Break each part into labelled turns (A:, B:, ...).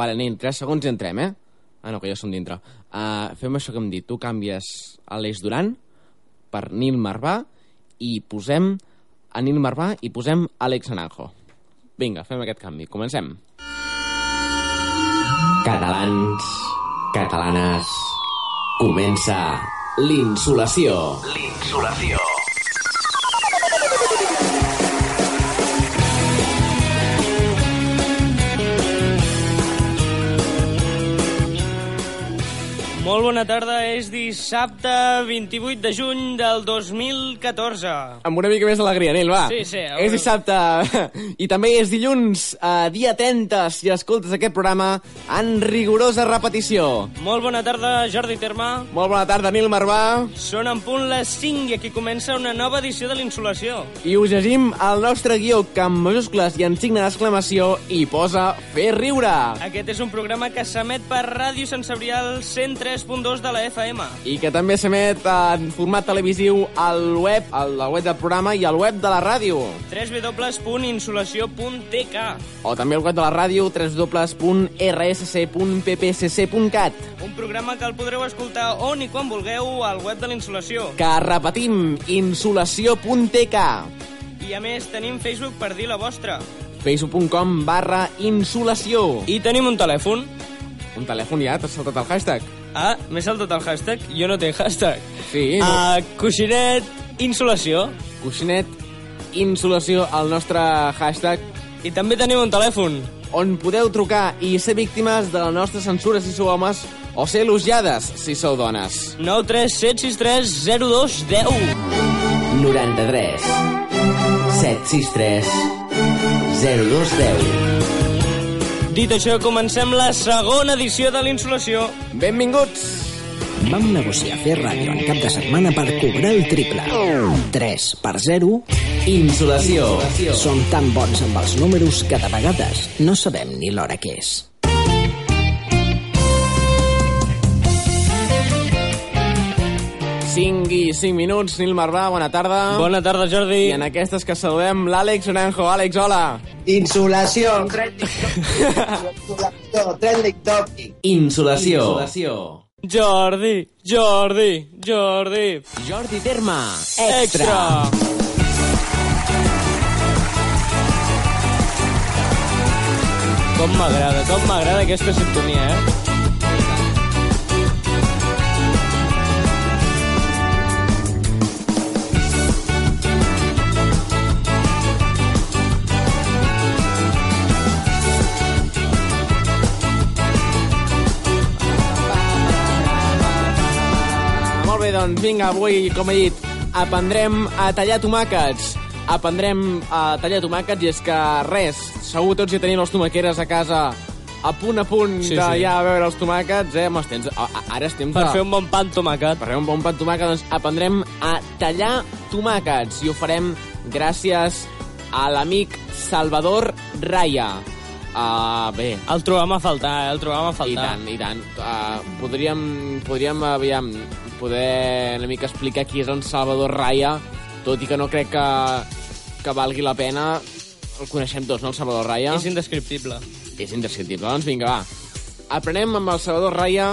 A: Vale, nen, 3 segons i entrem, eh? Ah, no, que ja som dintre. Uh, fem això que hem dit. Tu canvies Aleix Duran per Nil Marvà i posem a Nil Marvà i posem Àlex Naranjo. Vinga, fem aquest canvi. Comencem.
B: Catalans, catalanes, comença l'insolació. L'insolació.
C: Molt bona tarda, és dissabte 28 de juny del 2014.
A: Amb una mica més d'alegria, Nil, va.
C: Sí, sí, a veure.
A: És dissabte i també és dilluns, eh, dia 30, si escoltes aquest programa en rigorosa repetició.
C: Molt bona tarda, Jordi Terma.
A: Molt bona tarda, Nil Marvà.
C: Són en punt les 5 i aquí comença una nova edició de l'Insolació.
A: I us llegim el nostre guió que amb majúscules i en signe d'exclamació hi posa fer riure.
C: Aquest és un programa que s'emet per Ràdio Sant Cebrià al 103.2 de la FM.
A: I que també s'emet en format televisiu al web, al, al web del programa i al web de la ràdio.
C: www.insolació.tk
A: O també al web de la ràdio www.rsc.ppcc.cat
C: Un programa que el podreu escoltar on i quan vulgueu al web de l'Insolació.
A: que repetim, insolació.tk
C: I a més tenim Facebook per dir la vostra.
A: facebook.com barra insolació i
C: I tenim un telèfon.
A: un telèfon ja, t'has saltat el hashtag
C: Ah, m'he saltat el hashtag? Jo no tinc hashtag.
A: sí, no.
B: Ah.
C: A Ah, coixinet, insolació.
A: coixinet insolació al nostre hashtag
C: I també tenim un telèfon.
A: on podeu trucar i ser víctimes de la nostra censura si sou homes o ser elogiades si sou dones.
C: 937630210.
B: 93 763 0210
C: Dit això, comencem la segona edició de l'Insolació.
A: Benvinguts!
D: Vam negociar fer ràdio en cap de setmana per cobrar el triple. 3 per 0.
B: Insolació.
D: Som tan bons amb els números que de vegades no sabem ni l'hora que és.
A: Cinc i cinc minuts, Nil Marvà, bona tarda.
C: Bona tarda, Jordi.
A: Ah. I en aquestes que saludem l'Àlex Naranjo. Àlex, hola!
E: Insolació. Insolació, trending topic.
B: Insolació.
C: Jordi, Jordi, Jordi.
A: Jordi Terma.
C: Extra. Com m'agrada, com m'agrada aquesta sintonia, eh?
A: Molt bé, doncs vinga, avui, com he dit, aprendrem a tallar tomàquets. Aprendrem a tallar tomàquets i és que res, segur tots hi tenim les tomaqueres a casa a punt a punt
C: Sí,
A: sí, de
C: sí.
A: ja veure els tomàquets, eh? Amb els temps, a, a, ara és temps
C: Per
A: de...
C: fer un bon pan tomàquet.
A: Per fer un bon pa de tomàquet, doncs aprendrem a tallar tomàquets i ho farem gràcies a l'amic Salvador Raya. Uh, bé,
C: El trobam a faltar, eh? El trobam a
A: i
C: faltar.
A: tant, i tant. Uh, podríem, podríem, aviam, poder una mica explicar qui és en Salvador Raya, tot i que no crec que, que valgui la pena. El coneixem tots, no, el Salvador Raya?
C: És indescriptible.
A: És indescriptible. Doncs vinga, va. Aprenem amb el Salvador Raya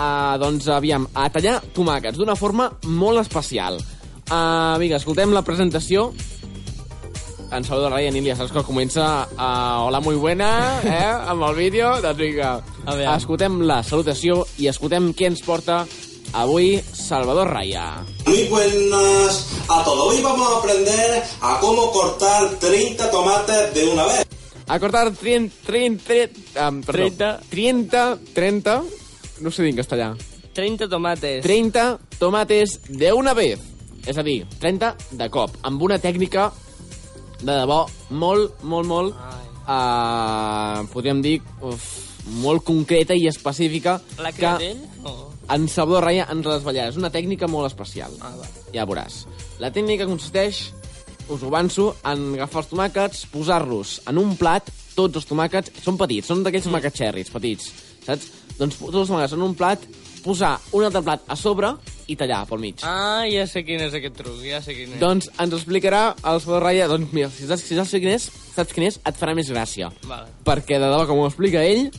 A: a, doncs, aviam, a tallar tomàquets d'una forma molt especial. Uh, vinga, escoltem la presentació. En Salvador Raya, Nil, ja saps que comença a Hola, muy buena, eh, amb el vídeo. Doncs vinga,
C: A veure.
A: escoltem la salutació i escoltem què ens porta avui Salvador Raya.
F: Muy buenas a todos. Hoy vamos a aprender a cómo cortar 30 tomates de una vez.
A: A cortar 30... 30... Um,
C: 30.
A: 30... 30... No sé dir en castellà.
C: 30 tomates.
A: 30 tomates de una vez. És a dir, 30 de cop, amb una tècnica de debò molt, molt, molt... Uh, podríem dir uf, molt concreta i específica
C: La Oh. creat
A: que
C: ell? O...
A: en Salvador Raya ens la desvetllarà. És una tècnica molt especial.
C: Ah, va.
A: Ja veuràs. La tècnica consisteix, us ho avanço, en agafar els tomàquets, posar-los en un plat, tots els tomàquets, són petits, són d'aquells tomàquets xerris, petits, saps? Doncs tots els tomàquets en un plat, posar un altre plat a sobre i tallar pel mig.
C: Ah, ja sé quin és aquest truc, ja sé quin és.
A: Doncs ens explicarà el Salvador Raya, doncs mira, si saps, si saps quin és, saps quin és, et farà més gràcia.
C: Vale.
A: Perquè de debò, com ho explica ell,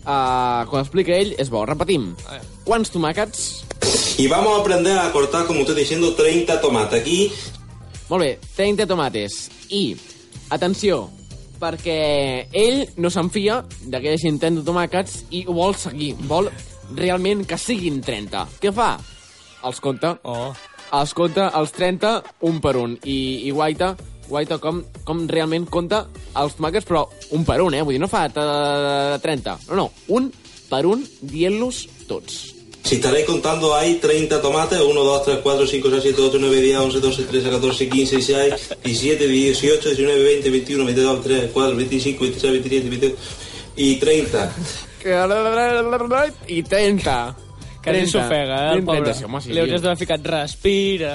A: Uh, quan explica ell, és bo. Repetim. Quants tomàquets?
F: Y vamos a aprender a cortar, como estoy diciendo, 30 tomates. Aquí
A: Molt bé, 30 tomates. I, atenció, perquè ell no se'n fia d'aquells intents de tomàquets i ho vol seguir. Vol realment que siguin 30. Què fa? Els compta.
C: Oh.
A: Els compta els 30 un per un. I, i guaita, guaita com, com realment compta els tomàquets, però un per un, eh? Vull dir, no fa eh, 30. No, no, un per un dient-los tots.
F: Si estaréis contando, hay 30 tomates, 1, 2, 3, 4, 5, 6, 7, 8, 9, 10, 11, 12, 13, 14, 15, 16, 17, 18, 19, 20, 21, 22, 23, 24, 25, 26, 27, 28 y 30.
A: I 30.
C: Que ni s'ofega, eh, el
A: 30,
C: pobre.
A: sí, home, sí.
C: Li hauries d'haver ficat respira...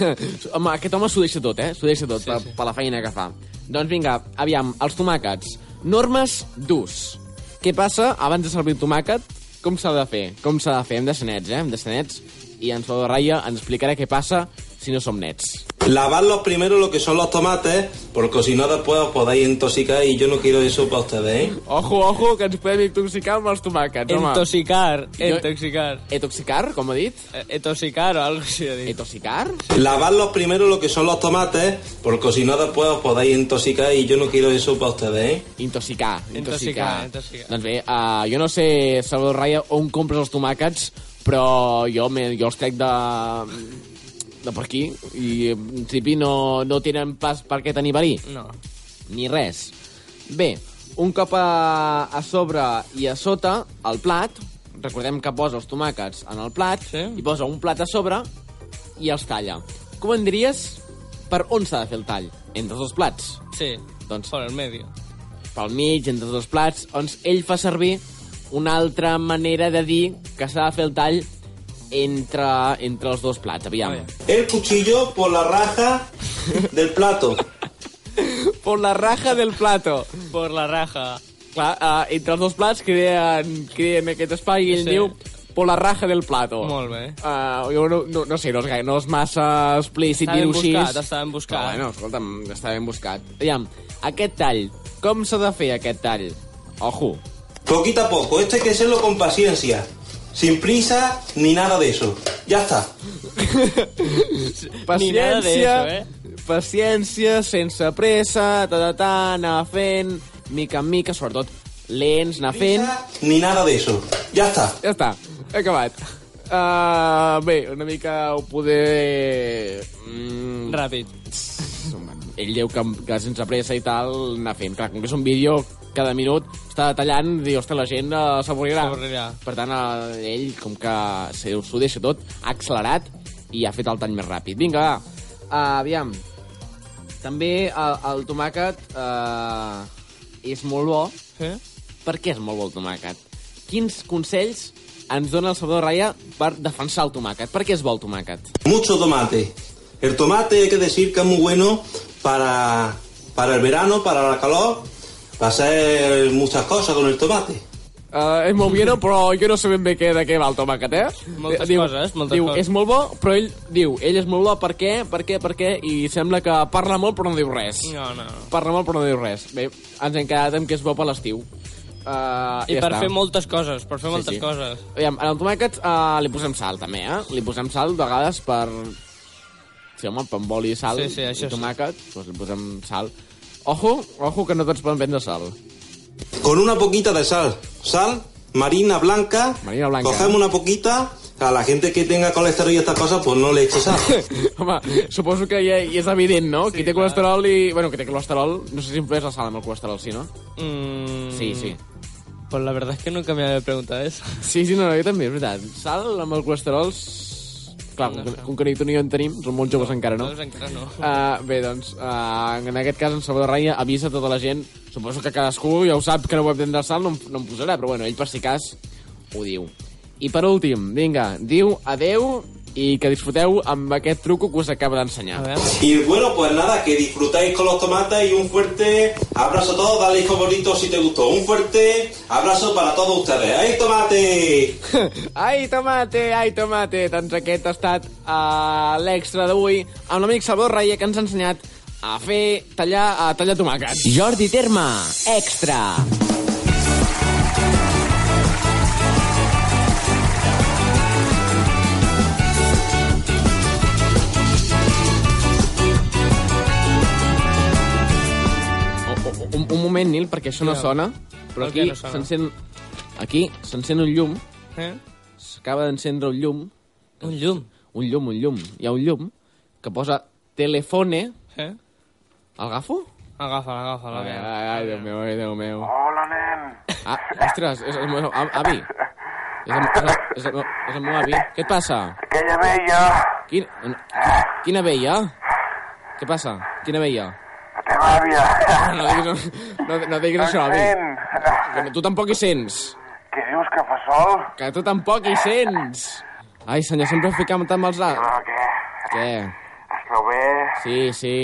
A: Home, aquest home s'ho deixa tot, eh? S'ho deixa tot sí, per, sí. per la feina que fa. Doncs vinga, aviam, els tomàquets. Normes d'ús. Què passa abans de servir el tomàquet? Com s'ha de fer? Com s'ha de fer? Hem de ser nets, eh? Hem de ser nets. I en Salvador Raya ens explicarà què passa si no som nets.
F: Lavarlos primero lo que son los tomates, porque si no después os podéis intoxicar y yo no quiero eso para ustedes, ¿eh?
A: Ojo, ojo, que ens podem intoxicar amb els tomàquets, home.
C: Intoxicar,
A: Jo-
C: intoxicar.
A: Etoxicar, com ha dit?
C: Eh, Etoxicar o algo així de dir.
A: Etoxicar?
F: Lavarlos primero lo que son los tomates, porque si no después os podéis intoxicar y yo no quiero eso para ustedes, ¿eh?
A: Intoxicar, intoxicar.
C: Intoxicar, intoxicar.
A: Doncs bé, uh, jo no sé, Salvador Raya, on compres els tomàquets, però jo, me, jo els trec de, de per aquí i en principi no, no tenen pas per què tenir verí,
C: No.
A: ni res. Bé, un cop a, a sobre i a sota, el plat, recordem que posa els tomàquets en el plat,
C: Sí.
A: i posa un plat a sobre i els talla. Com en diries per on s'ha de fer el tall? Entre els dos plats
C: Sí,
A: Doncs-
C: por el medio.
A: pel mig, entre els dos plats, on ell fa servir una altra manera de dir que s'ha de fer el tall entre, entre els dos plats, aviam.
C: Vaja.
F: El cuchillo por la raja del plato.
A: Por la raja del plato.
C: Por la raja.
A: Clar, uh, entre els dos plats creen, creen aquest espai i ell
C: Sí.
A: sí. diu por la raja del plato.
C: Molt bé.
A: Uh, jo no, no, no sé, no és, gaire, no és massa explícit
C: Està ben
A: dir-ho així.
C: buscat, està ben buscat.
A: Però, bueno, escolta'm, està ben buscat. Aviam, aquest tall, com s'ha de fer aquest tall? Ojo.
F: Poquito a poco, esto hay que hacerlo con paciencia, sin prisa ni nada de eso. Ya está.
C: Ni nada de eso, eh?
A: paciència, sense pressa, ta, ta, ta, anar fent, mica en mica, sobretot lents, anar fent...
F: Prisa ni nada de eso. Ya está.
A: Ja està, he acabat. Uh, bé, una mica ho poder... Mm,
C: Ràpid.
A: ell diu que, que sense pressa i tal, anar fent. Clar, com que és un vídeo, cada minut està detallant, diu, ostres, la gent uh, s'avorrirà.
C: S'avorrirà.
A: Per tant, uh, ell, com que se- s'ho deixa tot, ha accelerat i ha fet el tall més ràpid. Vinga, va, uh, aviam. També el, el tomàquet uh, és molt bo.
C: Sí?
A: Per què és molt bo el tomàquet? Quins consells ens dona el Salvador Raya per defensar el tomàquet? Per què és bo el tomàquet?
F: Mucho tomate. El tomate hay que decir que es muy bueno para, para el verano, para la calor, para hacer muchas cosas con el tomate.
A: Uh, és molt bueno, però jo no sé ben bé què, de què va el tomàquet, eh?
C: Moltes coses, moltes
A: diu,
C: coses.
A: És molt bo, però ell diu, ell és molt bo, per què, per què, per què, i sembla que parla molt però no diu res.
C: No, no, no.
A: Parla molt però no diu res. Bé, ens hem quedat amb que és bo per l'estiu. Uh,
C: I
A: ja
C: per
A: està.
C: fer moltes coses, per fer moltes
A: sí.
C: coses.
A: Aviam, al tomàquet uh, li posem sal, també, eh? Li posem sal, de vegades, per... Sí, home, per emboli i sal
C: Sí, sí,
A: i
C: això sí.
A: tomàquet, doncs li posem sal. Ojo, ojo, que no tots poden vendre sal.
F: Con una poquita de sal. Sal, marina blanca.
A: Marina blanca. ¿eh?
F: Cogemos una poquita. A la gente que tenga colesterol y estas cosas, pues no le eche sal.
A: Home, suposo que ja, ja és evident, no? Sí, qui té colesterol i... Bueno, qui té colesterol... No sé si em fes la sal amb el colesterol, sí, no?
C: Mm,
A: Sí, sí.
C: Pues la verdad es que nunca me había preguntado eso.
A: Sí, sí, no, no, jo també, és veritat. Sal amb el colesterol... s- Clar, com, que- com que ni tu ni jo en tenim, som molt joves encara, no?
C: Doncs encara no.
A: Uh, bé, doncs, uh, en aquest cas, en Salvador Raya avisa tota la gent. Suposo que cadascú ja ho sap, que no ho de sal, no, em- no em posarà, però bueno, ell per si cas ho diu. I per últim, vinga, diu adeu i que disfruteu amb aquest truco que us acaba d'ensenyar.
C: A ver.
F: Y bueno, pues nada, que disfrutáis con los tomates y un fuerte abrazo a todos. Dale favorito si te gustó. Un fuerte abrazo para todos ustedes. ¡Ay, tomate!
A: Ai, tomate, ai, tomate. Doncs aquest ha estat uh, l'extra d'avui amb l'amic Salvador Reia que ens ha ensenyat a fer tallar, a tallar tomàquets.
B: Jordi Terma, extra.
A: Un, un moment, Nil, perquè això no
C: Digue'm.
A: sona, però
C: Per
A: aquí
C: què no sona?
A: s'encén... Aquí s'encén un llum,
C: Eh?
A: s'acaba d'encendre un llum,
C: Un llum.
A: un llum, un llum, hi ha un llum que posa telefone...
C: Eh?
A: Agafo?
C: Agafa-la, agafa-la.
A: Ai,
C: vinga.
A: ai, ai, Déu meu, ai, Déu meu.
G: Hola, nen.
A: Ah, ostres, és el meu... a- Avi! És el, és, el, és, el meu, és el meu avi. Què et passa?
G: Aquella vella,
A: Quina, quina veia? Què passa? Quina veia?
G: la teva àvia.
A: No diguis, no, no diguis això, avi.
G: Sent.
A: Que no- tu tampoc hi sents.
G: Què dius, que fa sol?
A: Que tu tampoc hi sents. Ai, senyor, sempre ficam tant amb els... A...
G: Però què?
A: Què?
G: Esteu bé?
A: Sí, sí,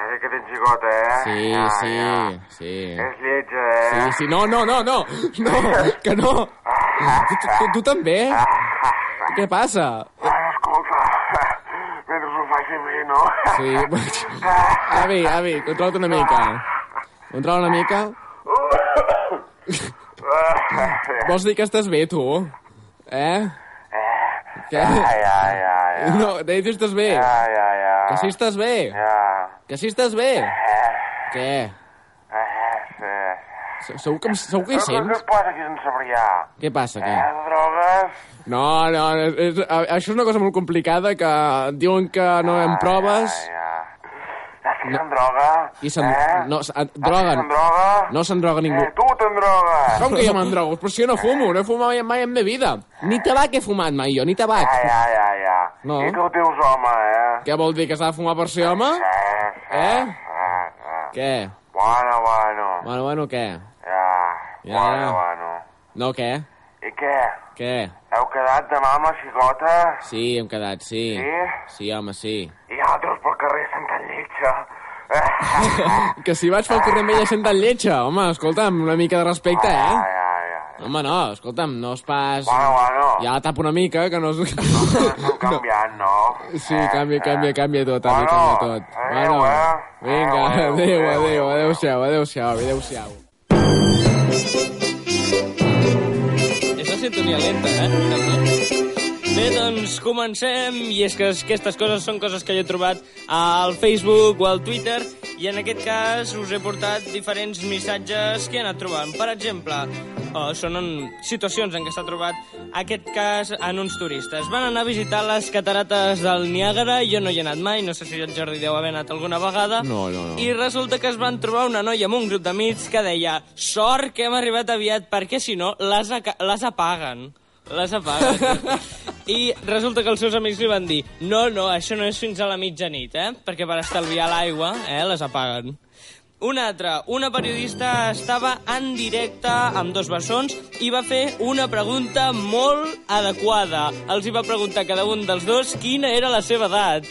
G: Eh, que tens gigota, eh?
A: sí,
G: Ja,
A: sí,
G: ja.
A: sí.
G: És lletja, eh?
A: Sí, sí, no, no, no, no, no, que no. Tu, tu, tu, tu també? Què passa?
G: Ai, escolta, mentre ho faci bé, no?
A: Sí, avi, avi, controla't una mica. Controla una mica. Vols dir que estàs bé, tu? Eh? Què?
G: Ja, ja, ja, ja.
A: No, deia que estàs bé.
G: Ja, ja, ja.
A: Que Ah, sí estàs bé.
G: Ja.
A: Que sí estàs bé. Què?
G: Eh, sí.
A: Se- Segur que, em- segur que hi
G: Però què
A: sents?
G: et passa aquí a Sant Cebrià?
A: Què passa,
G: Eh,
A: què?
G: drogues?
A: No, no, és, és, a- això és una cosa molt complicada que et diuen que no hi ha proves
G: Ja. Aquí se'n droga?
A: i se'n...
G: Eh?
A: No, se- et
G: Aquí
A: droguen.
G: se'n droga?
A: No se'n droga ningú.
G: Eh, tu te'n drogues!
A: Com que jo me'n drogo? Però si jo no fumo, no he fumat mai, mai en la vida. Ni tabac he fumat mai jo, ni
G: Ja,
A: tabac.
G: ja, ja, ja.
A: No.
G: I tu dius home, eh?
A: Què vol dir, que s'ha de fumar per ser home?
G: Eh,
A: Eh?
G: eh, eh.
A: Què?
G: Bueno, bueno.
A: Bueno, bueno, què?
G: Ja,
A: Ja.
G: bueno, bueno.
A: No, què?
G: I què?
A: Què?
G: Heu quedat demà amb la xicota?
A: Sí, hem quedat, sí.
G: Sí?
A: Sí, home, sí.
G: I altres pel carrer Santa Lletja? Eh,
A: Que si vaig pel carrer amb ella sent tan lletja, home, escolta'm, una mica de respecte,
G: ja,
A: eh?
G: ja, ja.
A: Home, no, escolta'm, no és pas...
G: Bueno, bueno.
A: Ja la tapo una mica, que no és...
G: Esteu canviant, no?
A: Sí,
G: Eh,
A: canvia,
G: eh.
A: canvia, canvia tot, avi,
G: Bueno,
A: canvia tot.
G: adéu,
A: Bueno,
G: eh?
A: vinga, adéu,
G: Adéu, adéu,
A: adéu,
G: adéu.
A: adéu-siau, adéu-siau, avi, adéu-siau.
C: És la sintonia lenta, eh? També. Bé, doncs comencem, i és que aquestes coses són coses que jo he trobat al Facebook o al Twitter, i en aquest cas us he portat diferents missatges que he anat trobant. Per exemple, oh, són en situacions en què s'ha trobat aquest cas en uns turistes. Van anar a visitar les catarates del Niàgara, jo no hi he anat mai, no sé si el Jordi deu haver anat alguna vegada,
A: No, no, no.
C: i resulta que es van trobar una noia amb un grup d'amics que deia sort que hem arribat aviat perquè si no les, aca- les apaguen. Les apaguen. I resulta que els seus amics li van dir no, no, això no és fins a la mitjanit, eh? Perquè per estalviar l'aigua, eh, les apaguen. Un altre, una periodista estava en directe amb dos bessons i va fer una pregunta molt adequada. Els hi va preguntar a cada un dels dos quina era la seva edat.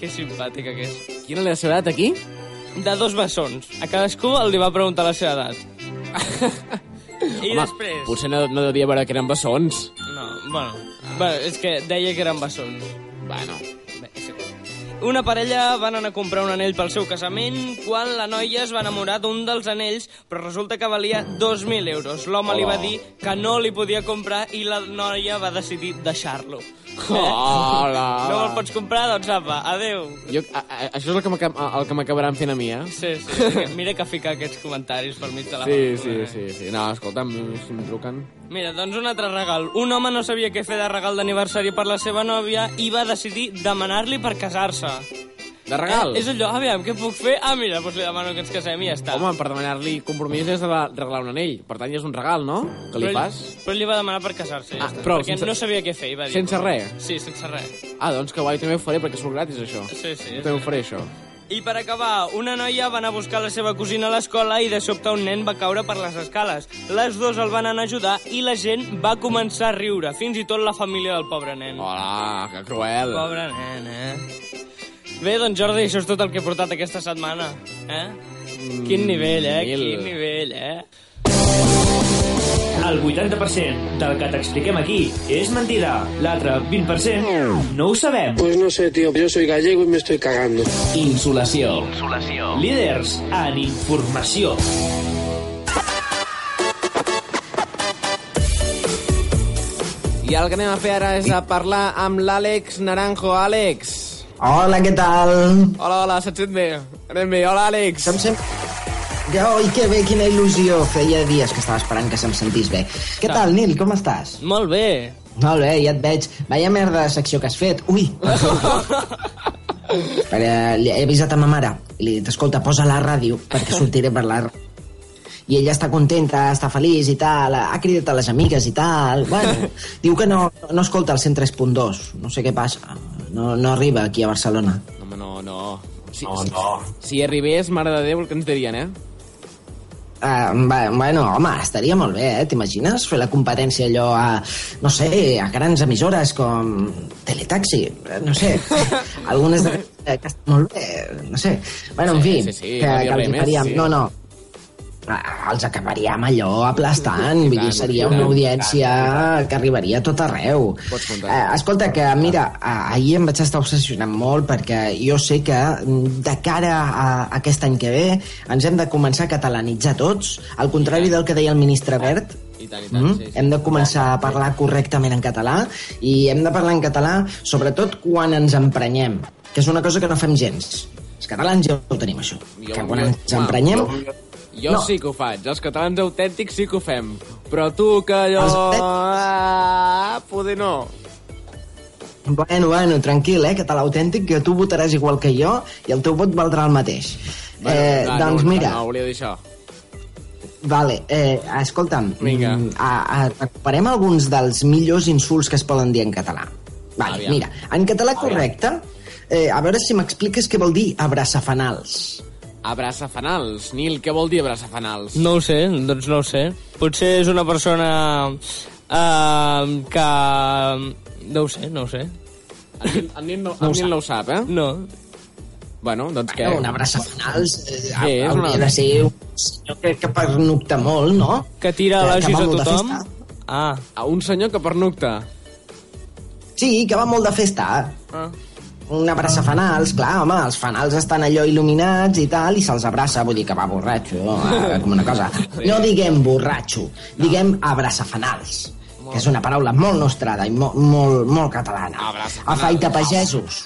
C: Que simpàtica que és
A: Quina era la seva edat aquí?
C: de dos bessons. A cadascú el li va preguntar la seva edat. I
A: Home,
C: després...
A: potser no, no devia veure que eren bessons.
C: No, bueno, bueno, és que deia que eren bessons.
A: Bueno,
C: Bé, és igual. Una parella van anar a comprar un anell pel seu casament quan la noia es va enamorar d'un dels anells, però resulta que valia 2.000 euros. L'home li va dir que no li podia comprar i la noia va decidir deixar-lo.
A: Ah.
C: Eh,
A: Hola.
C: No me'l pots comprar? Doncs apa, adeu.
A: jo, a, a, això és el que m'acab- a- el que m'acabaran fent a mi, eh?
C: Sí, sí, mira que fica aquests comentaris pel mig de la
A: Sí, sí,
C: pel·lícula, eh?
A: sí, sí. No, escolta'm, si em truquen...
C: Mira, doncs un altre regal. Un home no sabia què fer de regal d'aniversari per la seva nòvia i va decidir demanar-li per casar-se.
A: De regal?
C: Eh, és allò, aviam, què puc fer? Ah, mira, doncs li demano que ens casem i ja està.
A: Home, per demanar-li compromís és de la- regalar un anell. Per tant, ja és un regal, no? Que li
C: però,
A: fas?
C: Ell, però ell li va demanar per casar-se, ja
A: Ah,
C: està.
A: però
C: perquè
A: sense-
C: no sabia què fer i va dir...
A: Sense res?
C: Sí, sense res.
A: Ah, doncs que guai, també ho faré, perquè surt gratis, això.
C: Sí, sí.
A: Jo també ho faré, això.
C: I per acabar, una noia va anar a buscar la seva cosina a l'escola i de sobte un nen va caure per les escales. Les dues el van anar a ajudar i la gent va començar a riure, fins i tot la família del pobre nen.
A: Hola, que cruel.
C: Pobre nen, eh? Bé, doncs Jordi, això és tot el que he portat aquesta setmana, eh? Quin nivell, eh?
A: mil.
C: Quin nivell, eh?
H: El 80% del que t'expliquem aquí és mentida. L'altre 20% no ho sabem.
I: Pues no sé, tío, yo soy gallego y me estoy cagando.
B: Insolació.
H: Líders en informació.
A: I el que anem a fer ara és a parlar amb l'Àlex Naranjo. Àlex!
E: Hola, què tal?
A: Hola, hola, se't sent bé? Anem bé. Hola, Àlex.
E: Se'm sent...
D: Ai, que bé, quina il·lusió. Feia dies que estava esperant que se'm sentís bé. Què tal, Nil? Com estàs?
C: Molt bé.
D: Molt bé, ja et veig. Vaya merda de secció que has fet. Ui! Perquè li he avisat a ma mare. I li he dit, escolta, posa la ràdio perquè sortiré per la... r-". I ella està contenta, està feliç i tal, ha cridat a les amigues i tal. Bueno, diu que no, no escolta el 103.2, no sé què passa. No, no arriba aquí a Barcelona.
A: Home, no, no. Si,
B: No, no.
A: si arribés, mare de Déu, el que ens dirien, eh?
D: Ah, va- bueno, home, estaria molt bé, eh? T'imagines fer la competència allò a, no sé, a grans emissores com Teletaxi, eh, no sé, algunes de... eh, que estan molt bé, no sé. Bueno, en
A: Sí,
D: fi,
A: sí, sí, no dir
D: que, que
A: res
D: els
A: més,
D: faríem...
A: sí.
D: No, no, Ah, els acabaríem allò aplastant, vull dir,
A: tant, i
D: seria
A: tant,
D: una audiència que arribaria a tot arreu.
A: Pots comptar.
D: Eh, escolta, que mira, ah, ahir em vaig estar obsessionant molt perquè jo sé que mm, de cara a aquest any que ve ens hem de començar a catalanitzar tots, al contrari del que deia el ministre Bert,
A: I tant, i tant,
D: Mm?
A: sí, sí.
D: Hem de començar a parlar correctament en català i hem de parlar en català sobretot quan ens emprenyem, que és una cosa que no fem gens. Els catalans ja ho tenim, això.
A: Jo-
D: que quan
A: jo-
D: ens emprenyem...
A: Jo no.
D: No.
A: sí que ho faig, els catalans autèntics sí que ho fem. Però tu, que allò...
D: Els autèntics.
A: Ah, poder no.
D: Bueno, bueno, tranquil, eh, català autèntic, que tu votaràs igual que jo i el teu vot valdrà el mateix.
A: Bueno,
D: eh,
A: clar,
D: doncs
A: no,
D: mira,
A: No, volia dir això.
D: vale, eh, escolta'm,
A: Vinga.
D: mm, a, a, recuperem alguns dels millors insults que es poden dir en català. Vale,
A: Aviam.
D: mira, en català correcte, eh, a veure si m'expliques què vol dir abraçafanals.
A: Abraça fanals. Nil, què vol dir abraça fanals?
C: No ho sé, doncs no ho sé. Potser és una persona eh, que... No ho sé, no ho sé.
A: El, Nil- el, Nil, no, el Nil no ho sap, eh?
C: No.
A: Bueno, doncs què?
D: Eh, un abraçafanals eh,
A: Què és
D: eh, hauria
A: una-
D: de ser un senyor que, que pernocta molt, no?
C: Que tira
D: Que- que
C: l'ajus
D: va
C: a
D: molt de
C: tothom.
D: festa.
C: Ah,
A: A un senyor que pernucta.
D: Sí, que va molt de festa.
C: Ah.
D: Un abraça fanals, clar, home, els fanals estan allò il·luminats i tal, i se'ls abraça, vull dir que va borratxo, eh, com una cosa. No diguem borratxo, diguem abraça fanals, que és una paraula molt nostrada i molt, molt, molt catalana.
A: Abraçafanals.
D: Afaita pagesos,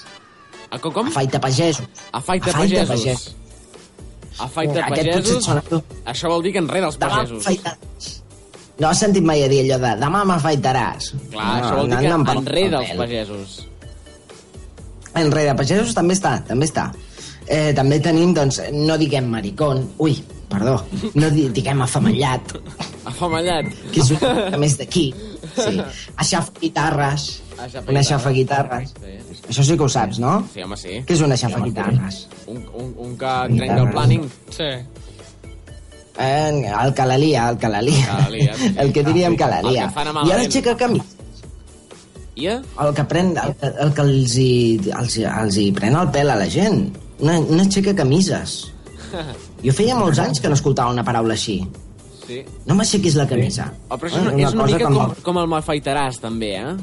A: A com? com?
D: afaita pagesos.
A: Afaita pagesos. Afaita
D: Aquest potser et
A: pagesos.
D: sona a tu.
A: Això vol dir que enrere els
D: Demà
A: pagesos.
D: m'afaitaràs. No has sentit mai a dir allò de demà m'afaitaràs.
A: Clar,
D: no,
A: això vol dir
D: Ah, anant
A: que
D: per
A: enrere els
D: pèl.
A: pagesos.
D: Enrere pagesos també està, també està. Eh, també tenim, doncs, no diguem maricón, ui, perdó, no di diguem afamallat,
A: Afamallat.
D: que és un que més d'aquí. Sí. Aixafa guitarres,
A: Aixafa
D: un aixafa guitarres.
A: Sí.
D: Això sí que ho saps, no?
A: Sí, home, sí.
D: Què és un aixafa guitarres?
A: Un, un, un que trenca el planning.
C: sí.
D: Eh, el que la lia, el que la lia.
A: Que la lia, sí.
D: El que diríem que la
A: El que
D: lia.
A: fan amb
D: I ara
A: el-
D: aixeca camí.
A: I eh?
D: El que, pren, el, que- el que els hi, els, hi- els hi pren el pèl a la gent. Una, una aixeca camises. Jo feia molts anys que no escoltava una paraula així.
A: Sí.
D: No m'aixequis la camisa.
A: Oh, però això és, una, és una
D: cosa
A: mica
D: que
A: com,
D: em va-
A: com el malfaitaràs, també, eh?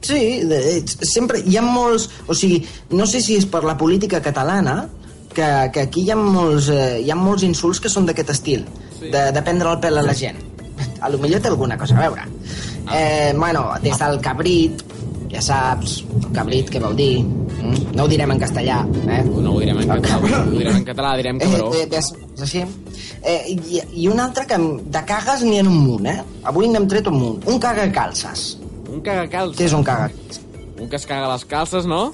D: Sí, de, de- sempre hi ha molts... O sigui, no sé si és per la política catalana, que, que aquí hi ha, molts, eh, hi ha molts insults que són d'aquest estil, de, de prendre el pèl a la gent. A lo millor té alguna cosa a veure. Eh, bueno, des del cabrit, ja saps, el cabrit què vol dir, mm? no ho direm en castellà, eh?
A: No ho direm en català, ho direm en català, direm cabró.
D: Eh, eh, des, és així. Eh, i, I un altre que em- de cagues n'hi ha un munt, eh? Avui n'hem tret un munt. Un caga calces.
A: Un cagacalces.
D: Què eh, és un caga?
A: Un que es caga les calces, no?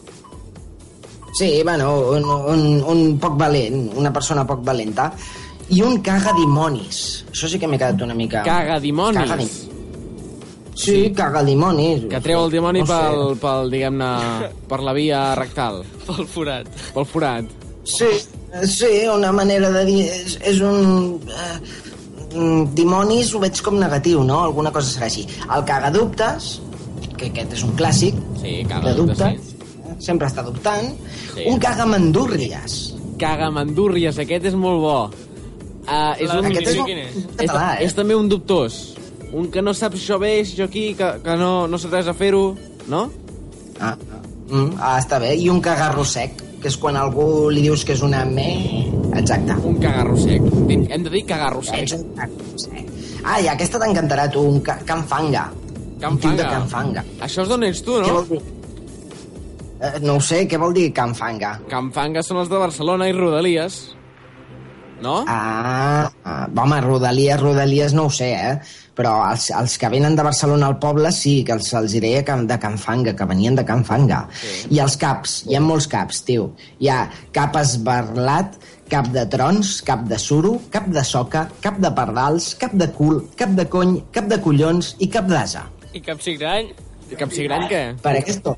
D: Sí, bueno, un, un, un poc valent, una persona poc valenta. I un caga dimonis. Això sí que m'he quedat una mica...
A: Caga dimonis.
D: Caga dim... Sí, caga dimonis.
A: Que treu el dimoni
D: No sé.
A: pel, pel diguem-ne, per la via rectal,
C: Pel forat.
A: pel forat.
D: Sí, sí, una manera de dir... És, és un... Eh, mm, dimonis ho veig com negatiu, no? Alguna cosa serà així. El cagadubtes, que aquest és un clàssic,
A: Sí,
D: de
A: caga
D: dubte,
A: sí.
D: eh, sempre està dubtant.
A: Sí.
D: Un cagamandúrries.
A: Caga mandúrries, aquest és molt bo. Uh, és,
C: La
A: un,
D: Aquest és
C: quin és?
D: un
A: és,
D: català, eh?
A: és també un dubtós. Un que no sap això bé, això aquí, que, que no, no sap res a fer-ho, no?
D: Ah, ah. Mm, ah, està bé. I un cagarro sec, que és quan algú li dius que és una me... Exacte.
A: Un cagarro sec. Di- Hem de dir cagarro
D: Ets
A: sec.
D: un cagarro sec. Ah, i aquesta t'encantarà, tu, un ca canfanga. Un tio de canfanga.
A: Això és d'on ets tu,
D: Què
A: no?
D: vol dir? Eh, no ho sé, què vol dir canfanga?
A: Canfanga són els de Barcelona i Rodalies. no?
D: Ah, ah, home, Rodalies, Rodalies no ho sé, eh? Però els, els que venen de Barcelona al poble sí, que els, els hi deia que, de Can Fanga, que venien de Can Fanga. Sí. I els caps, hi ha molts caps, tio. Hi ha cap esbarlat, cap de trons, cap de suro, cap de soca, cap de pardals, cap de cul, cap de cony, cap de collons i cap d'asa.
C: I cap cigrany?
A: I Capsigrany, què?
D: Per aquesto.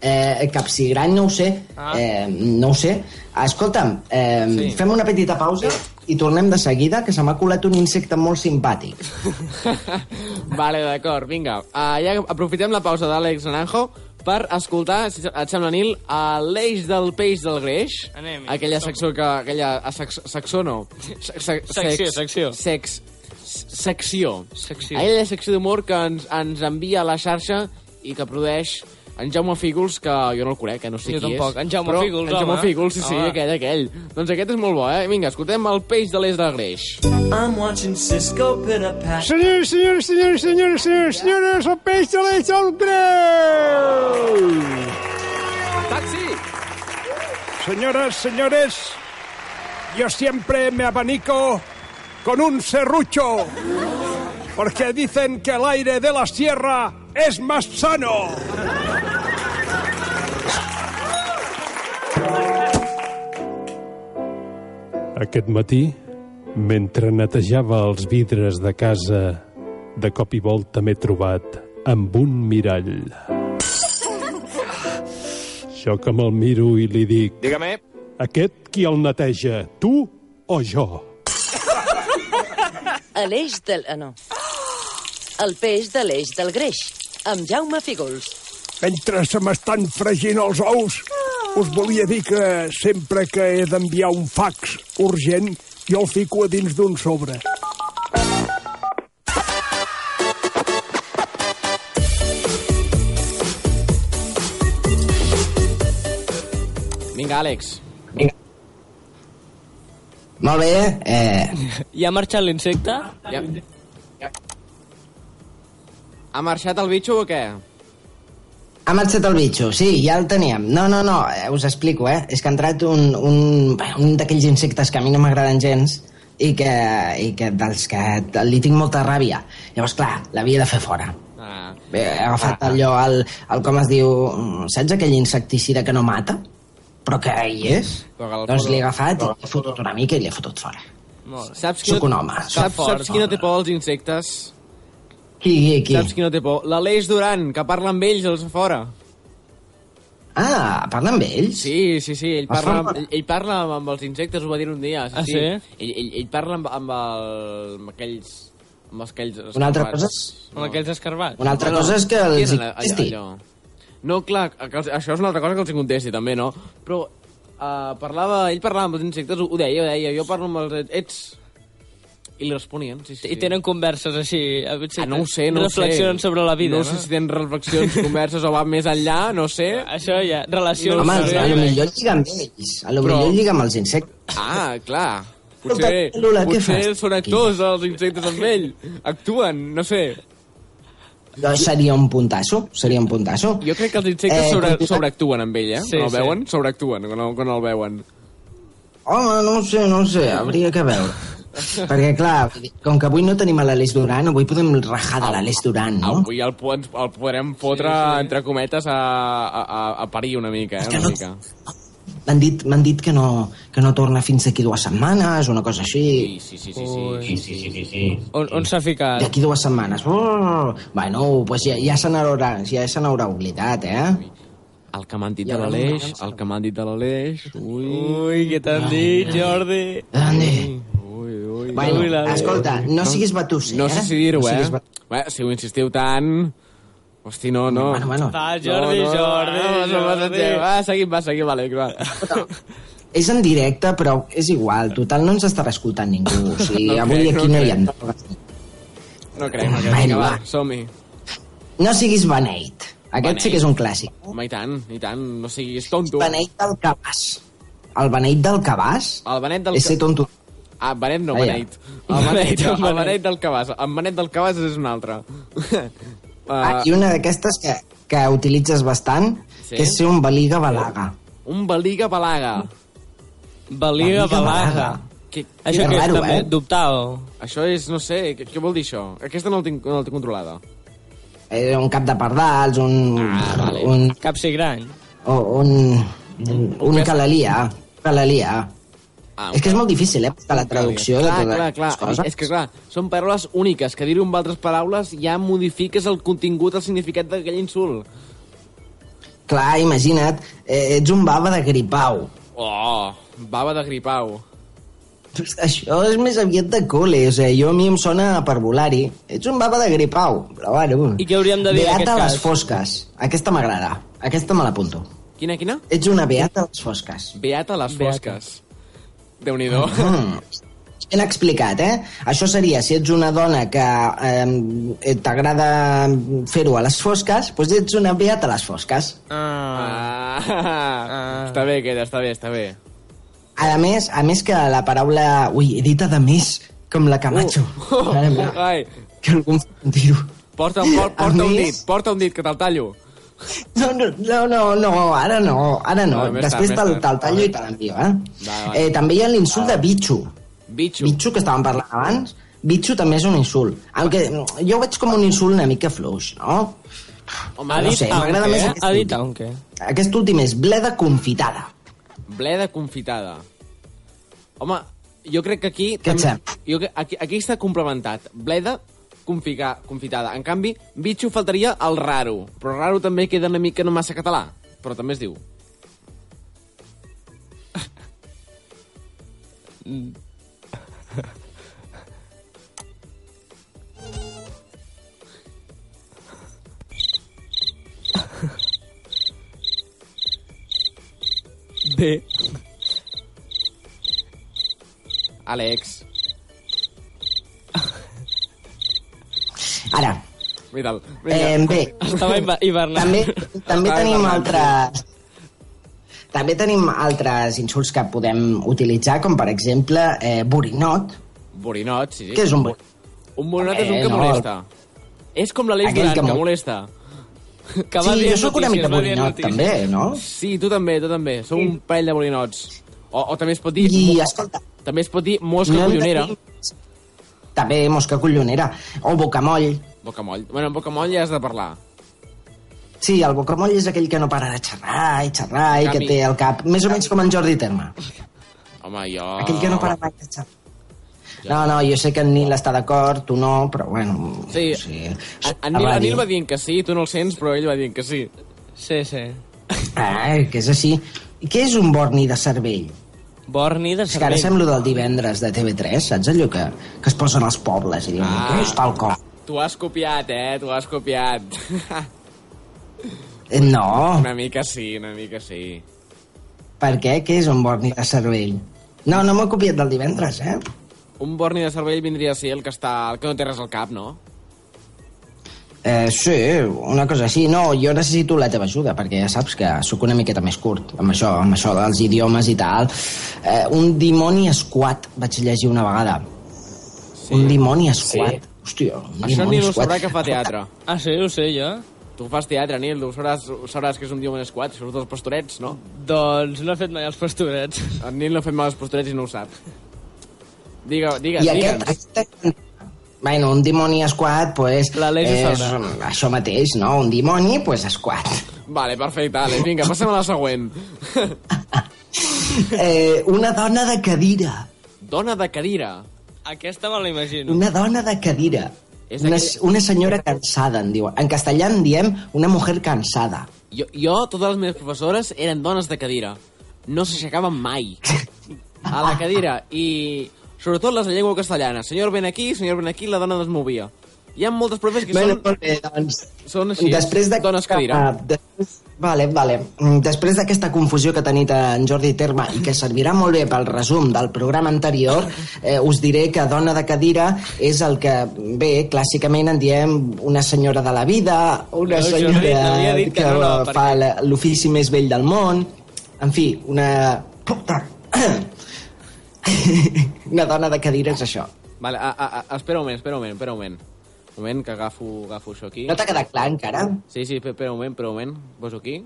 D: Eh, capsigrany, no ho sé.
C: Ah.
D: Eh, no ho sé. Escolta'm, eh,
A: Sí.
D: sí. fem una petita pausa i tornem de seguida, que se m'ha colat un insecte molt simpàtic.
A: vale, d'acord, vinga. Uh, ja aprofitem la pausa d'Àlex Naranjo per escoltar, si et sembla, Nil, a l'eix del peix del greix.
C: Anem-hi.
A: Aquella secció que... Aquella... A sax, saxó, no. Se, se,
C: Secció, secció.
A: Sex, secció.
C: Secció.
A: Aquella secció d'humor que ens, ens envia a la xarxa i que produeix en Jaume Fígols, que jo no el conec, que no sé
C: Jo
A: qui
C: tampoc.
A: és.
C: En Jaume
A: però
C: Fígols,
A: En Jaume
C: home. Ah.
A: Fígols, sí, sí,
C: Home.
A: aquell, aquell. Doncs aquest és molt bo, eh? Vinga, escoltem el peix de l'eix del greix.
J: I'm watching Cisco pit a pat.
K: Senyors, senyors, senyors, senyors, senyors, senyores, el peix de l'eix al greu!
A: Taxi!
K: Señoras, señores, yo siempre me abanico con un serrucho, porque dicen que el aire de la sierra es más sano.
L: Aquest matí, mentre netejava els vidres de casa, de cop i volta m'he trobat amb un mirall. Jo que me'l miro i li dic... Dígame. Aquest qui el neteja, tu o jo?
M: A l'eix del... Ah, no. El peix de l'eix del greix, amb Jaume Fígols.
K: Mentre se m'estan fregint els ous, us volia dir que sempre que he d'enviar un fax urgent, jo el fico a dins d'un sobre.
A: Vinga, Àlex.
D: Molt bé, eh...
C: Ja ha marxat l'insecte?
A: Ja. Ha marxat el bitxo o què?
D: Ha marxat el bitxo, sí, ja el teníem. No, no, no, eh, us explico, eh? És que ha entrat un, un, un d'aquells insectes que a mi no m'agraden gens i que, i que dels que t- li tinc molta ràbia. Llavors, clar, l'havia de fer fora.
A: Ah.
D: Bé, he agafat allò, el, el com es diu, mm, saps aquell insecticida que no mata? Però que hi és?
A: Però que el
D: Doncs
A: foto-
D: l'he agafat i l'he fotut una mica i l'he fotut fora.
A: Saps
D: Sóc un home, sóc
A: Saps,
D: fort,
A: saps qui no té por als insectes?
D: Qui, qui, qui?
A: Saps qui no té por? L'Aleix Duran, que parla amb ells als de fora.
D: Ah, parla amb ells?
A: Sí, sí, sí, ell
D: Els
A: parla,
D: fan-
A: ell, ell parla amb, amb els insectes, ho va dir un dia. Sí,
C: Ah, sí?
A: Ell, ell, ell parla amb, amb, el, amb aquells... Amb els aquells
D: Una altra
A: escarabats.
D: cosa
C: Amb aquells escarbats?
D: Una altra cosa és que
A: qui
D: els
A: era
D: hi
A: la-
D: contesti.
A: allò? No, clar, que els, això és una altra cosa que els hi contesti, també, no? Però uh, parlava, ell parlava amb els insectes, ho deia, ho deia, jo parlo amb els... Ets... I li responien, sí, sí.
C: I tenen converses així...
A: Ah, no ho sé, no ho sé.
C: Reflexionen sobre la vida,
A: No,
C: no?
A: sé si tenen reflexions, converses o va més enllà, no sé.
C: Això ja, relacions...
D: Home,
C: sobre
D: a
C: la
D: lo
C: vida.
D: millor lliga amb ells. A lo
A: Però-
D: millor lliga amb els insectes.
A: Ah, clar.
D: Escolta,
A: Potser,
D: Lola, què
A: potser
D: fas
A: són
D: aquí?
A: actors els insectes amb ell. Actuen, no sé.
D: No, seria un puntasso, seria un puntasso.
A: Jo crec que els insectes
D: Eh,
A: sobre,
D: continua-
A: sobreactuen amb ell, eh?
C: Sí,
A: Sí, quan el
C: sí.
A: veuen, sobreactuen quan el, quan el veuen.
D: Home, no ho sé, no ho sé, hauria que veure. Perquè, clar, com que avui no tenim a l'Aleix Duran, avui podem rajar de l'Aleix Duran, no?
A: Avui el, po- ens- el podrem fotre, entre cometes, a, a, a- a parir una mica, eh? Una mica.
D: M'han dit, m'han dit que, no, que no torna fins d'aquí dues setmanes, una cosa així.
A: Sí, sí, sí, sí. sí, sí, sí, sí.
C: On, on s'ha ficat?
D: D'aquí dues setmanes. Oh, bueno, pues ja, ja se n'haurà ja se n'haurà oblidat, eh?
A: El que m'han dit
D: I
A: de
D: ara no
A: l'Aleix,
D: m'agrada.
A: el que m'han dit de l'Aleix... Ui,
C: Ui, què t'han dit, Jordi?
A: Eh,
D: Ande.
A: ui, ui.
D: Bueno,
C: Ui, l'Aleix.
D: escolta, no siguis batusser,
A: No
D: eh?
A: sé si dir-ho,
D: No
A: eh?
D: siguis bat-
A: Bé, si ho insistiu tant... Hosti, no, no.
D: Bueno, bueno.
C: Va, Jordi,
A: no, no,
C: Jordi,
A: no, no, no, no,
C: Jordi.
A: no, va, seguim, va, seguim, vale, va.
D: És en directe, però és igual. Total, no ens estarà escoltant ningú. O sigui,
A: No
D: avui
A: crec,
D: aquí
A: no
D: no hi
A: crec.
D: ha drogues.
A: No crec, no crec,
D: Bueno,
A: vinga, va,
D: va.
A: som-hi.
D: No siguis beneit. Aquest
A: Beneit.
D: sí que és un clàssic.
A: Home, i tant, i tant, no siguis tonto.
D: Beneit del cabàs. El beneit del cabàs
A: El Benet del...
D: és ser tonto.
A: Ah, Benet no,
D: Ah, ja.
A: Benet. El Benet,
C: Benet,
A: el
C: Benet.
A: Benet del Cabàs. El Benet del Cabàs és un altre.
D: Ah, I
A: uh,
D: una d'aquestes que, que utilitzes bastant,
A: Sí?
D: que és ser un baliga balaga.
A: un baliga balaga.
C: Baliga, balaga.
A: Què,
C: Això que oh. és també
D: eh?
C: dubtar o...
A: Això és, no sé, què, què vol dir això? Aquesta no la tinc, no la tinc controlada.
D: Eh, un cap de pardals, un... Ah, vale. un
C: cap cigrany.
D: O un... Un, un calalia. Calalia. Ah, és que és molt difícil, eh, buscar la traducció
A: clar,
D: de totes
A: clar, clar.
D: les coses.
A: És que, clar, són paraules úniques, que dir-ho amb altres paraules ja modifiques el contingut, el significat d'aquell insult.
D: Clar, imagina't, eh, ets un baba de gripau.
A: Oh, bava de gripau.
D: Pues Això és més aviat de col·le, o sigui, jo a mi em sona a parvulari. Ets un baba de gripau, però bueno.
C: I què hauríem de dir en
D: Beata
C: aquest
D: a les
C: cas?
D: fosques. Aquesta m'agrada. Aquesta me l'apunto.
A: Quina, quina?
D: Ets una beata a les fosques.
A: Beata a les fosques. Déu-n'hi-do.
D: Mm. Ben explicat, eh? Això seria, si ets una dona que eh, t'agrada fer-ho a les fosques, doncs ets una beata a les fosques.
A: Ah. Ah. Està bé, aquest, està bé, està bé.
D: A més, a més que la paraula... Ui, he dit a més, com la Camacho.
A: Oh.
D: Uh. Mare meva,
A: Ai,
D: que algú em fa un tiro.
A: porta, un- por, porta un
D: més-
A: dit, porta un dit, que te'l tallo.
D: No, no, no, no, no, ara no, ara
A: No,
D: no.
A: més
D: Després
A: tard, més tard.
D: te'l te'l tallo i te l'envio, eh?
A: Va, va.
D: eh? També hi ha l'insult de bitxo.
A: Bitxo.
D: Bitxo, que estàvem parlant abans. Bitxo també és un insult. Aunque jo ho veig com un insult una mica fluix, no?
A: Home,
C: ha
D: no
C: dit
D: sé, m'agrada
C: aunque,
D: més
C: eh?
D: aquest
C: Ha dit
D: últim.
C: aunque.
D: Aquest últim és bleda confitada.
A: Bleda confitada. Home, jo crec que aquí...
D: Què et sembla?
A: jo que aquí, aquí està complementat. Bleda confica, confitada. En canvi, bitxo faltaria el raro. Però raro també queda una mica no massa català. Però també es diu.
C: Bé.
A: Àlex.
D: Ara,
A: Mira'l.
D: eh, bé,
C: Estava hiba- hivernant.
D: també, també
A: Estava
D: tenim
A: hivernant,
D: altres... També tenim altres insults que podem utilitzar, com per exemple eh, borinot,
A: Borinot, sí. sí.
D: que és un borinot.
A: Un borinot és un
D: Eh,
A: que
D: no.
A: molesta. És com l'Aleix
D: Aquell
A: Duran,
D: que
A: que,
D: mol-
A: molesta. Que va
D: Sí,
A: dient
D: jo sóc una
A: notícies,
D: mica
A: va dient
D: borinot,
A: notícies.
D: també, no?
A: Sí, tu també, tu també. Sou un parell de borinots. O, o també es pot dir...
D: I, escolta,
A: També es pot dir mosca
D: No hem de
A: collonera.
D: dir- També mosca collonera. O bocamoll.
A: Bocamoll. Bueno, amb bocamoll ja has de parlar.
D: Sí, el bocamoll és aquell que no para de xerrar i xerrar i que
A: Canvi.
D: té el cap més o menys com en Jordi Terma.
A: Home, jo...
D: Aquell que no para mai de xerrar. No, no, jo sé que en Nil està d'acord, tu no, però bueno...
A: Sí,
D: sí.
A: en, en, Nil, en Nil va dient que sí, tu no el sents, però ell va dient que sí.
C: Sí, sí.
D: Ai, que és així. Què és un borni de cervell?
C: Borni de
D: És que ara
C: cervell.
D: semblo del divendres de TV3, saps allò que, que es posen als pobles i diuen,
A: Ah.
D: ah. tal cop.
A: Tu has copiat, eh? Tu has copiat.
D: Eh, No,
A: Una mica sí, una mica sí.
D: per què? Què és un borni de cervell? No, no m'ho he copiat del divendres, eh?
A: Un borni de cervell vindria a ser el que, està, el que no té res al cap, no?
D: Eh, sí, una cosa així. No, jo necessito la teva ajuda, perquè ja saps que sóc una miqueta més curt amb això, amb això dels idiomes i tal. Eh, un dimoni esquat, vaig llegir una vegada. Sí. Un dimoni esquat. Sí. Hòstia, un
A: Això
D: dimoni
A: Nil ho
D: esquat.
A: sabrà que fa teatre.
C: Ah, sí, ho sé jo.
A: Tu fas teatre, Nil, tu sabràs, sabràs que és un diumenge esquat, surts dels pastorets, no?
C: Doncs no he fet mai els pastorets.
A: En Nil no ha fet mal als pastorets i no ho sap. Digue, digues,
D: I
A: digues.
D: aquest... aquest bueno, un dimoni esquat, pues,
C: L'Aleix ho
D: és
C: sabrà.
D: això mateix, no? Un dimoni, pues, esquat.
A: Vale, perfecte, Àlex, vinga, passem a la següent.
D: Eh, una dona de cadira.
A: Dona de cadira.
C: Aquesta me la imagino.
D: Una dona de cadira.
A: És
D: Una,
A: aquella-
D: una senyora cansada, en diuen. En castellà en diem una mujer cansada.
A: Jo, jo, totes les meves professores eren dones de cadira. No s'aixecaven mai. A la cadira. I sobretot les de llengua castellana. Senyor, ven aquí, senyor, ven aquí, la dona desmovia. Hi ha moltes profes que
D: Bueno,
A: són,
D: molt bé, doncs...
A: són així.
D: Després de...
A: Dones cadira.
D: Ah, després- Vale, vale. Mm, Després d'aquesta confusió que ha tenit eh, en Jordi Terma i que servirà molt bé pel resum del programa anterior, eh, us diré que dona de cadira és el que, bé, clàssicament en diem una senyora de la vida, una
C: No, Jordi, t'havia
D: senyora
C: dit que
D: que
C: no, no, perquè-
D: fa la- l'ofici més vell del món, en fi, una... Puta. una dona de cadira és això.
A: Vale, a, a, a, espera un moment, espera un moment, espera un moment. Un moment, que agafo, agafo això aquí.
D: No t'ha quedat clar encara?
A: Sí, sí, espera- espera un moment, espera un moment. Poso aquí,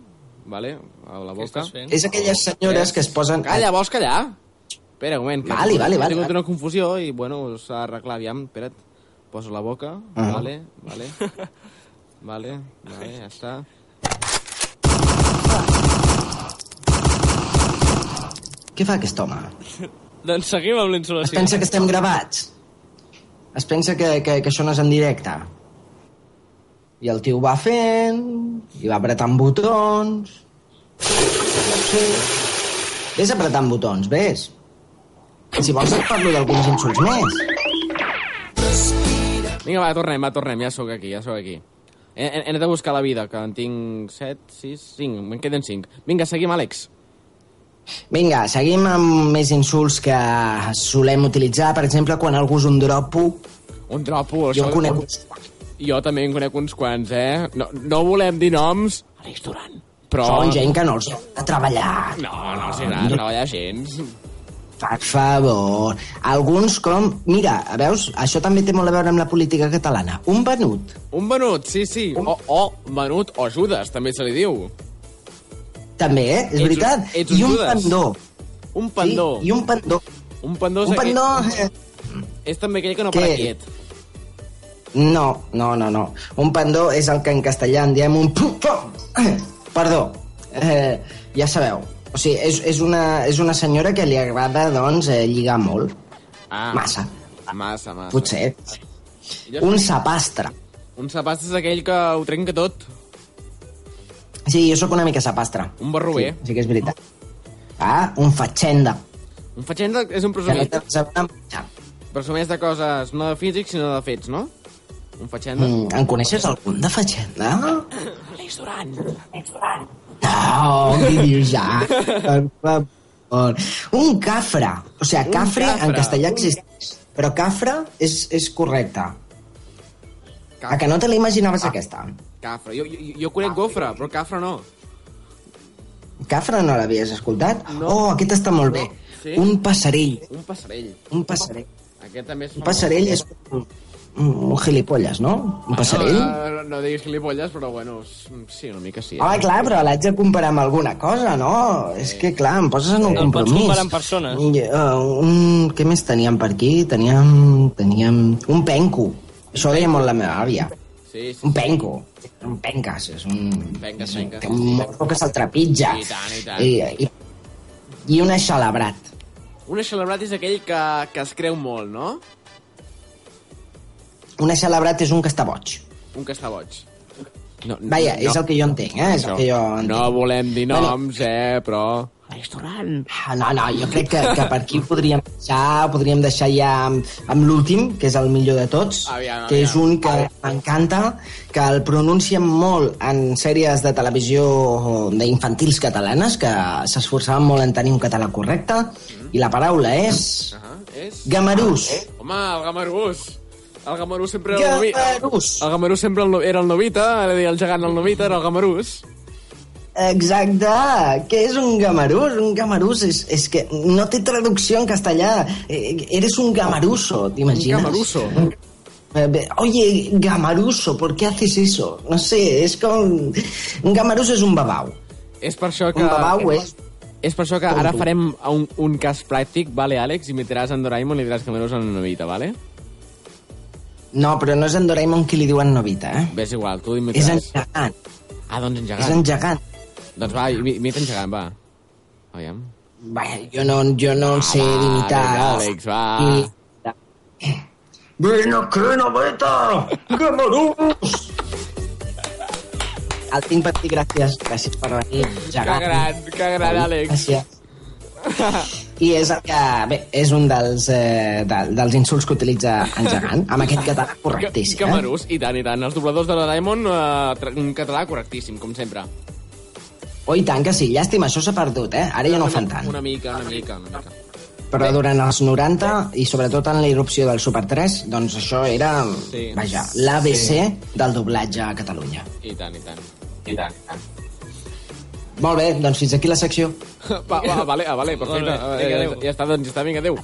A: vale, a la boca.
C: estàs fent?
D: És aquelles senyores que es posen...
A: Calla, vols callar? Espera, un moment. Que
D: Vale, vale, vale.
A: He tingut una confusió i, bueno, s'ha d'arreglar. Aviam, espera't. Poso la boca.
D: Ah.
A: Vale, vale. vale, vale, ja està.
D: Què fa aquest home?
C: Doncs seguim amb
D: Es
C: l'insolació.
D: pensa que estem gravats? Es pensa que, que, que això no és en directe? I el tio va fent, i va apretant botons... Sí. Vés apretant botons, vés. Si vols et parlo d'alguns insults més.
A: Vinga, va, tornem, va, tornem. Ja sóc aquí, ja sóc aquí. He, he, he anat a buscar la vida, que en tinc 7, 6, 5. Me'n queden 5. Vinga, seguim, Àlex.
D: Vinga, seguim amb més insults que solem utilitzar, per exemple, quan algú és un dropo.
A: Un dropo,
D: Jo
A: això-
D: en conec uns
A: Jo també en conec uns quants, eh? No, no volem dir noms. Àlex Duran. Però...
D: Són gent que no els agrada treballar.
A: No, Ah, no els agrada treballar gens.
D: Per favor. Alguns com... Mira, veus? Això també té molt a veure amb la política catalana. Un venut.
A: Un venut, sí, sí. O, o venut, o Judas, també se li diu.
D: També, eh? És
A: Ets un-
D: veritat.
A: ets un
D: I un
A: Judas.
D: pendó.
A: Un pendó.
D: Sí, I un pendó.
A: Un pendó,
D: Un pendó... eh,
A: és també aquell que no
D: Què?
A: para quiet.
D: No, no, no, no. Un pendó és el que en castellà en diem un... pum, pum. Perdó. Eh, ja sabeu. O sigui, és, és, una, és una senyora que li agrada, doncs, eh, lligar molt.
A: Ah,
D: Massa,
A: Massa, massa.
D: potser.
A: Ja
D: Un
A: sé.
D: sapastre.
A: Un sapast és aquell que ho trenca tot.
D: Sí, jo sóc una mica sapastre.
A: Un barroer.
D: Sí, sí que és veritat. Ah, un fatxenda.
A: Mm. Un fatxenda és un
D: Que no
A: presumit.
D: té res a veure amb menjar.
A: Presumeix de coses no de físics, sinó de fets, no? Un fatxenda.
D: Mm, en coneixes algun de fatxenda?
A: Àlex Duran.
D: No, què dius ja? Per favor. Un cafre. O sigui,
A: Un
D: cafre,
A: cafre.
D: en castellà existeix. Però cafre és, és correcte. A que no te l'imaginaves
A: Ah.
D: aquesta?
A: Cafre. Jo, jo, jo conec gofre, però cafre no.
D: Cafre no l'havies escoltat? Oh, aquest està molt bé.
A: Sí?
D: Un passarell.
A: Un passarell.
D: Un passarell.
A: Aquest també és
D: Un passarell és un, un gilipolles, no? Un passarell?
A: No, Ah, no, no diguis gilipolles, però bueno, s- sí, una mica sí. eh?
D: Ah, clar, però l'haig de comparar amb alguna cosa, no? És que, clar, em poses en un
C: Em pots
D: compromís.
C: comparar amb persones.
D: I, uh, un... Què més teníem per aquí? Teníem... teníem... Un penco. Això ho deia molt la meva àvia.
A: Sí, sí.
D: Un penco. Un penques. És un...
A: Penques, penques.
D: Que un morro que se'l trepitja.
A: I tant, i tant.
D: I, i, i un aixalabrat.
A: Un eixelebrat és aquell que, que es creu molt, no?
D: Un aixalabrat és un que està boig.
A: Un que està boig. No, no,
D: Vaja, és el que jo entenc, eh? És el que jo entenc.
A: No volem dir
D: Bueno.
A: noms, eh, però...
D: Restaurant. Ah, No, no, jo crec que, que per aquí ho podríem deixar, ho podríem deixar ja amb, amb l'últim, que és el millor de tots,
A: Aviam,
D: que
A: aviam.
D: és un que m'encanta, que el pronuncien molt en sèries de televisió d'infantils catalanes, que s'esforçaven molt en tenir un català correcte, i la paraula és...
A: Ah, és...
D: Gamarús.
A: Home, el Gamarús! El Gamarús sempre era el novit.
D: Gamarús.
A: El Gamarús sempre el no- era el novita, era a dir, el gegant el novita era el Gamarús.
D: Exacte. Què és un gamarús? Un gamarús és, és que no té traducció en castellà. Eh, Eres un gamaruso, t'imagines?
A: Un gamaruso.
D: Eh, bé, Oye, gamaruso, ¿por qué haces eso? No sé, és com... Un gamaruso és un babau.
A: És per això que...
D: Un babau és...
A: És per això que ara
D: Tonto.
A: farem un, un cas pràctic, vale, Àlex, imitaràs en Doraemon i diràs Gamarús en el novita, vale?
D: No, però no és en Doraemon qui li diuen novita, eh?
A: Ves igual, tu
D: És en
A: imitaràs.
D: gegant.
A: Ah, doncs en
D: És en
A: gegant.
D: gegant.
A: Doncs va, imi- imita en gegant, va. Aviam.
D: Bé, jo no, jo no en sé d'imitar.
A: vinga, Àlex, va.
D: I- Vine aquí, noveta! Gamarús! El tinc per ti, gràcies. Gràcies per venir.
A: Que
D: gegant.
A: gran, que gran, Àlex.
D: Gràcies. I és el que... Bé, és un dels, eh, de, dels insults que utilitza en gegant, amb aquest català correctíssim. eh?
A: Camarús, i tant, i tant. Els dobladors de la Diamond, eh, tra- un català correctíssim, com sempre.
D: Oh, i tant que sí. Llàstima, això s'ha perdut, eh? Ara ja no ho fan tant.
A: Una mica, una mica, una mica.
D: Però durant els 90, i sobretot en la irrupció del Super 3, doncs això era,
A: Sí.
D: vaja, l'ABC del doblatge a Catalunya.
A: I tant, i tant. I tant, i tant.
D: Molt bé, doncs fins aquí la secció.
A: Va, va, vale, ah, vale, perfecte.
C: Molt bé,
A: Eh,
C: vinga,
A: ja,
C: adéu.
A: ja està, doncs ja està, vinga, adéu.